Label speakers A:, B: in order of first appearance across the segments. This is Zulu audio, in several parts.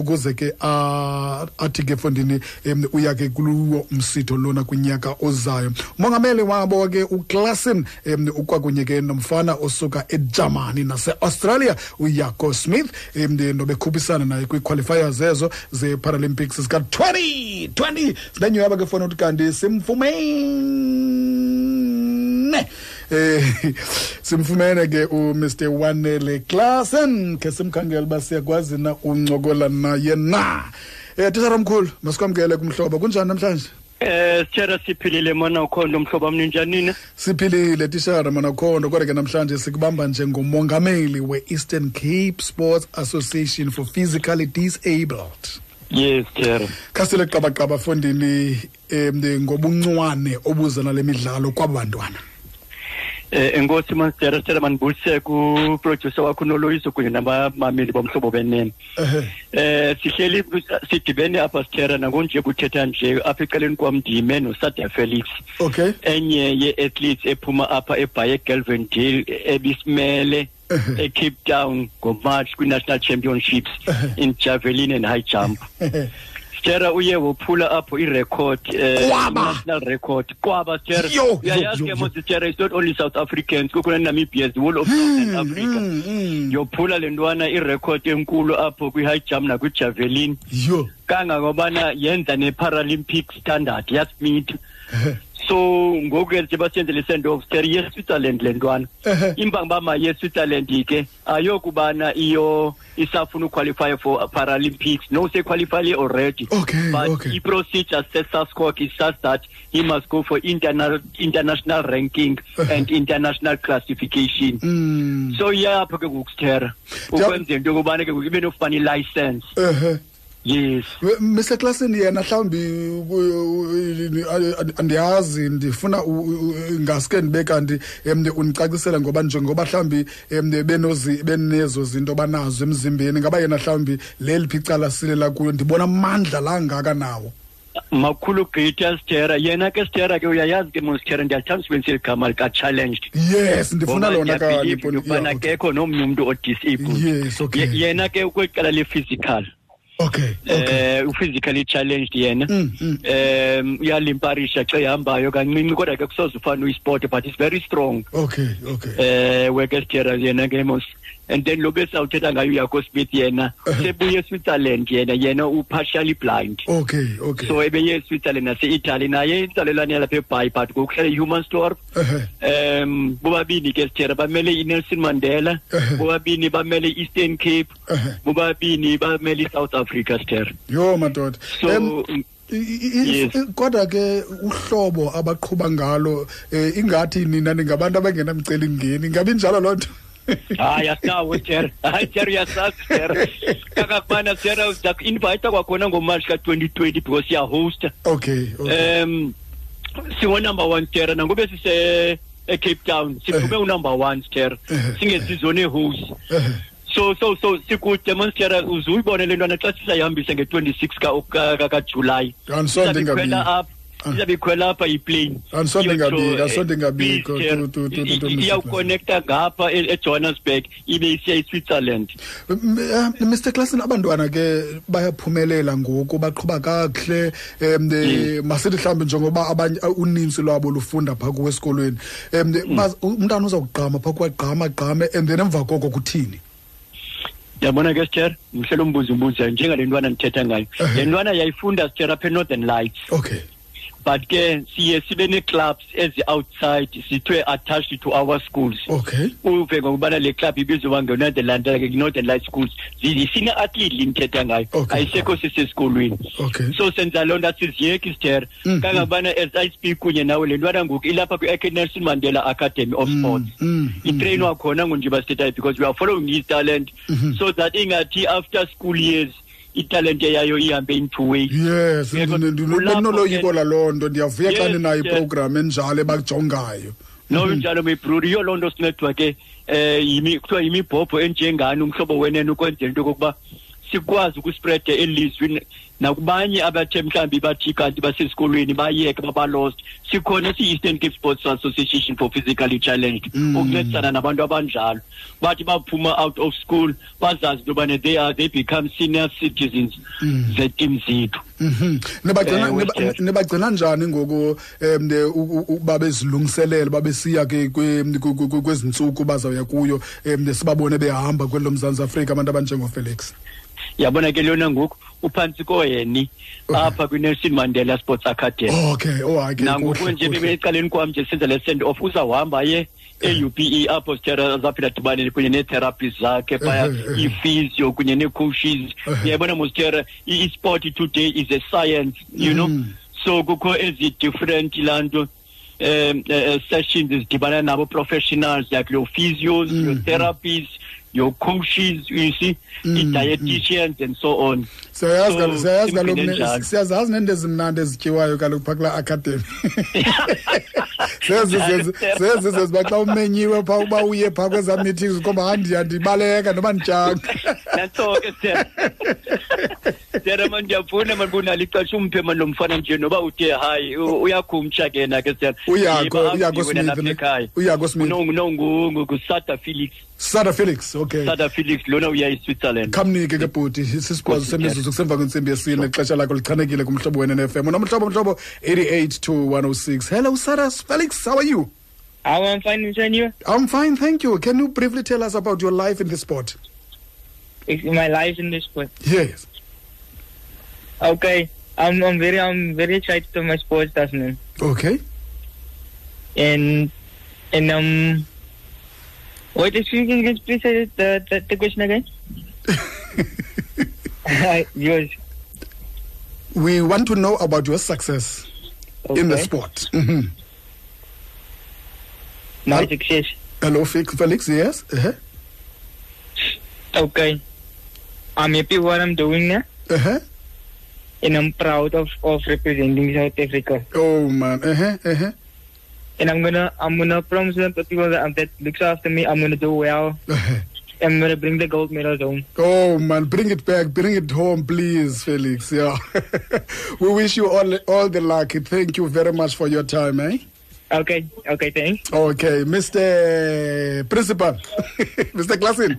A: ukuze ke ah, athi ke fondini em, uya ke kuluwo umsitho lona kunyaka ozayo umongameli wabo ke uklassen em, ukwakunye ke nomfana osuka ejamani nase-australia uyaco smith em, de- nobekhuphisana naye kwii-qualifiers ezo ze-paralympics zika-2020 silenyo yaba ke fona ukuthi kanti simfumene Eh simfumene ke u Mr Wanele Klassen ke simkhangela uba siyakwazi na uncokola naye na. Eh tisara omkhulu masikwamkele kumhlobo kunjani namhlanje?
B: Eh sithera siphilile mona ukhona umhlobo mninjanini
A: Siphilile tishara mana khondo kodwa ke namhlanje sikubamba njengomongameli we-Eastern Cape Sports Association for Physically Disabled.
B: Yes sithera
A: Khasile qabaqaba fondini em ngobuncwane obuza nale midlalo kwabantwana.
B: eh enkosi masithera sithera manibulise ku producer wakho noloyiso kunye nabamameli bomhlobo benene
A: Ehhe.
B: eh sihleli sidibene apha sithera nangonje kuthetha nje apha eceleni kwamndime nosadia felix
A: Okay.
B: enye ye-athletes ephuma apha ebhaye galvandale ebisimele
A: Ehhe.
B: ecape town ngomarch kwi-national championships in javelin and high jump Stera uye wophula apho i-record eh,
A: Kwaba.
B: national record kwaba Stera
A: Yo, yo,
B: uyayazi
A: yo,
B: ke
A: yo.
B: mos Stera it's not only South Africans kukhona Namibians the whole of Southern Africa
A: Mm, mm.
B: yophula lentwana i-record enkulu apho kwi-high jump nakwi-javelin
A: Yo.
B: kangangobana yenza ne-paralympic standard yasimith so ngoku ke nje basenzele i-send off Stera ye-switzerland le ntwana
A: Ehhe.
B: imbanga bama ye-switzerland ke ayokubana iyo isafuna uqualify for paralympics no sequalifyile already
A: Okay,
B: but
A: Mm, okay.
B: i-procedure sesascok is such that he must go for interna international ranking and international classification
A: Uh-huh. Mm.
B: so iyapho ke ngokusithera
A: Ja-
B: ukwenza into yokubana ke ngoku ibe nokufana i-license
A: Ehhe.
B: yes
A: We- Mr Klassen yena mhlawumbi ku- eh, andiyazi ndifuna u- u- u- ngaske ndibe kanti emne undicacisela ngoba njengoba mhlawumbi emne benozi benezo zinto banazo emzimbeni ngaba yena mhlawumbi leliphi icala silela kuyo ndibona amandla langaka nawo
B: makhulu greater stera yena ke stera ke uyayazi ke mosithera ndiyathanda usebenzisa eli gama lika-challenged
A: yes ndifuna
B: Ngoba
A: lona kanye
B: ndiyabelieve into
A: Mpon-
B: yokubana
A: Yeah, okay.
B: akekho nomnye umntu odisabled
A: Yes, okay.
B: Ye- yena ke ukweqala le-physical
A: okay okay
B: eh u-physically challenged yena
A: Mm, mm.
B: um uyalimparisha xa ihambayo kancinci kodwa ke kusoze ufane uyisport but is very strong
A: okay okay
B: eh wekestera yena ke mos and then lo besawuthetha ngayo uyakho smith yena
A: Uh-huh.
B: sebuye eswitzerland yena yena u-partially blind
A: okay okay
B: so ebeye eswitzerland nase-italy naye inzalelwane yalapha ebhayi but ngokuhlala i-humanstorp
A: Ehhe.
B: um bobabini ke sithera bamele inelson mandela
A: Ehhe.
B: bobabini bamele i-eastern cape
A: Ehhe.
B: bobabini bamele i-south africa sithera
A: yho madoda
B: so
A: Em,
B: mm,
A: I- i- i-
B: Yes.
A: kodwa ke uhlobo abaqhuba ngalo eh, ingathi nina ningabantu abangenamcelimngeni ingabi njalo loo nto
B: hayi asinawo sithera hayi sithera uyasazi sithera kakakubana sithera ndakuinvayitha kwakhona ngomarshi ka-twenty twenty because siyahosta
A: okay okay
B: um singonumber one sithera nangube sise ecape town siphume unumber one sithera
A: Ehhe.
B: singesizoni ehosi
A: Ehhe.
B: so so so sikude monstera uzuyibone le ntwana xa sisayihambise nge-26 ka- ka- ka- kajulayi
A: Andisonde ingabikho.
B: apha
A: Ah.
B: izabe ikhwela apha iplane
A: Andisonde ingabikho,
B: eh,
A: andisonde ingabikho, tu- tu- tu- tu- tu- Mr.
B: iyawukonektha ngapha e- ejohannesburg ibe isiya iswitzerland
A: M- eh, Mr Klassen abantwana ke bayaphumelela ngoku baqhuba kakuhle um
B: Mm.
A: eh, masithi mhlawumbi njengoba abanye uh, uninzi lwabo lufunda phaa kuwe esikolweni um
B: Mm.
A: eh, baz- umntana uzawugqama phaa kuwagqama gqame and then emva koko kuthini
B: ndiyabona ke sithera mhlela umbuzo umbuzayo njengale ntwana ndithetha ngayo
A: Ehhe.
B: le ntwana yayifunda sithera apha enorthern lights
A: okay
B: but ke siye sibe nee-clubs ezi-outside zithiwe attached to our schools
A: okay
B: uve ngokubana le club ibizoba ngenorthern ke northern light schools sine-athlete lindithetha ngayo
A: Okay.
B: ayisekho sisesikolweni
A: okay
B: so senza loo nto asiziyeki sithera
A: Mm.
B: kangangubana as i speak kunye nawe le ntwana ngoku ilapha kwi-nelson mandela academy of sports
A: mm,
B: itreyinwa khona ngonjeba sithethayo because we are following his talent
A: Mhm.
B: so that ingathi after school years italente yayo ihambe into waste
A: yes
B: Yebo,
A: ndi- ndi-
B: kulapho
A: bendinoloyiko
B: ke-
A: laloo nto ndiyavuya xa
B: Yes,
A: ninayo
B: yes.
A: iprogram enjalo ebajongayo
B: no njalo mebruri yiyo loo nto eh, sinethwa ke um kuthiwa yimibhobho enjengani umhlobo wenene ukwenzela into yokokuba sikwazi ukuspreada elizweni nakubanye abathe mhlawumbi bathi kanti basesikolweni bayeke babalost sikhona esiyi-eastern cape sports association for physically challenged ukuncedisana nabantu abanjalo bathi baphuma out of school bazazi into yobana they are they become senior citizens zetim zethu
A: Mhm. nibagcina
B: Eh,
A: niba-
B: Westchester.
A: nibagcina njani ngoku em, ne- u- u- u- babezilungiselela babesiya ke kwe- ku- ku- ku- kwezi ntsuku bazawuya kuyo em, ne sibabone behamba kwelo mzantsi afrika abantu abanjengofelix
B: yabona ke leyona ngoku uphantsi koyeni apha kwi-nelson mandela sports academy
A: okay oh, owake
B: nangoku nje bebecaleni kwam nje senza le send off uzawuhamba ye e-UPE apho sithera azaphinda adibane kunye nee-therapies zakhe phaya
A: Ehe, ehe.
B: i-physio kunye nee-coaches
A: Ehe.
B: yayibona mosithera i-sport today is a science you know
A: Mm.
B: so kukho ezi-different laa nto um eh, sessions ezidibana nabo professionals like your physios your therapies your coaches you see i-dietitians and so on
A: siyayazi
B: So,
A: kaloku- siyayazi
B: simple
A: kaloku ne-
B: njalo.
A: siyazazi neento ezimnandi ezityiwayo kaloku phaa kulaa academy Zezi- zezi- zezi zeziba xa umenyiwe phaa uba uye phaa kwezaa meetings ukhomba handiyandibaleka noba ndityanga
B: nantso ke sithera sithera man ndiyafuna man kunalo ixesha umphe man lo mfana nje noba uthe hayi u- uyakhumtsha ke na ke sithera
A: Uyako-
B: Yiba
A: uyako
B: ahambiwe
A: Smith
B: nalapha
A: ne?
B: ekhaya.
A: Uyako Smith.
B: Uno- uno- ngu- ngu- ngusada felix
A: sada felix okay
B: sada felix lona uya eswitzerland
A: khamnike ke bhuti sisiqwazo semizuzu kusemva kwentsimbi yesine ixesha lakho lichanekile kumhlobo wena ne-fm unomhlobo mhlobo 88 to 106 hello saras felix how are you
C: How I'm fine, Mr. New.
A: i'm fine thank you can you briefly tell us about your life in the sport
C: It's my life in this sport.
A: yes
C: Okay, I'm I'm very I'm very excited to my sports, doesn't it?
A: okay
C: And and um, what is you can just please say the, the the question again? Yours.
A: we want to know about your success
C: Okay.
A: in the sport Mhm.
C: My success.
A: hello Fe- felix yes uh-huh.
C: Okay. I'm happy what I'm doing now,
A: Uh-huh.
C: and I'm proud of of representing South Africa.
A: oh man uh-huh. Uh-huh.
C: And I'm gonna I'm gonna promise the people that that looks after me, I'm gonna do well.
A: Uh-huh.
C: I'm gonna bring the gold medals home.
A: Oh man, bring it back, bring it home, please, Felix. Yeah, we wish you all all the luck. Thank you very much for your time, eh?
C: Okay. Okay. Thanks.
A: Okay, Mr. Principal, Mr. Klassen.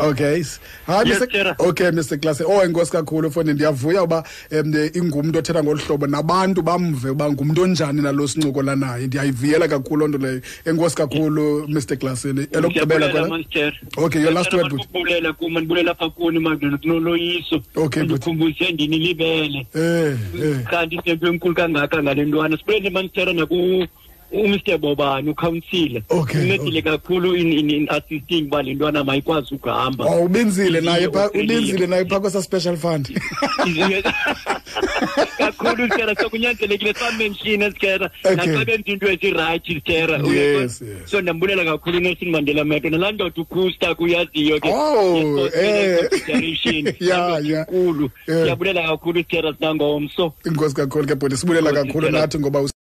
A: Okay. s- Hi
B: Yes,
A: Mr.
B: Chair.
A: Okay, Mr. Klassen. Oh, inkosi kakhulu mfowethu ndiyavuya uba em, ne- ingumntu othetha ngolu hlobo nabantu bamve uba ngumntu onjani nalo sincokola naye. Ndiyayivuyela kakhulu loo nto leyo. Enkosi kakhulu Mr. Klassen. Elokugqibela
B: Ndiyabulela,
A: kwela.
B: man, sithera.
A: Okay, your last
B: Sithera,
A: word,
B: man,
A: but-
B: ndibulela ku- man, ndibulela apha kuni man kunoloyiso
A: Okay, but-
B: ndikhumbuze ndinilibele
A: Eh, eh.
B: kanti sinento enkulu kangaka ngale ntwana sibulele manithera naku umr bobani ukhawunsile
A: Okay,
B: uncedile kakhulu in, in, in assisting uba le ntwana mayikwazi ukuhamba
A: Oh, ubenzile naye pha
B: Uphilile.
A: ubenzile naye pha kwesa special fund.
B: kakhulu sitera sokunyanzelekile samenshina sitera
A: Okay.
B: naxa benza into ezirayithi sitera
A: Yes, yes.
B: e so ndambulela kakhulu unelson mandela meto nalaa ndoda ukusta kuyaziyo ke
A: Oh,
B: Yes,
A: eh.
B: consideration.
A: Yeah,
B: Ndoda
A: yeah.
B: enkulu
A: Eh.
B: ndiyabulela kakhulu sitera sinangomso
A: Inkosi kakhulu ke bhuti sibulela
B: Inkosi,
A: kakhulu
B: Stella.
A: nathi ngoba us-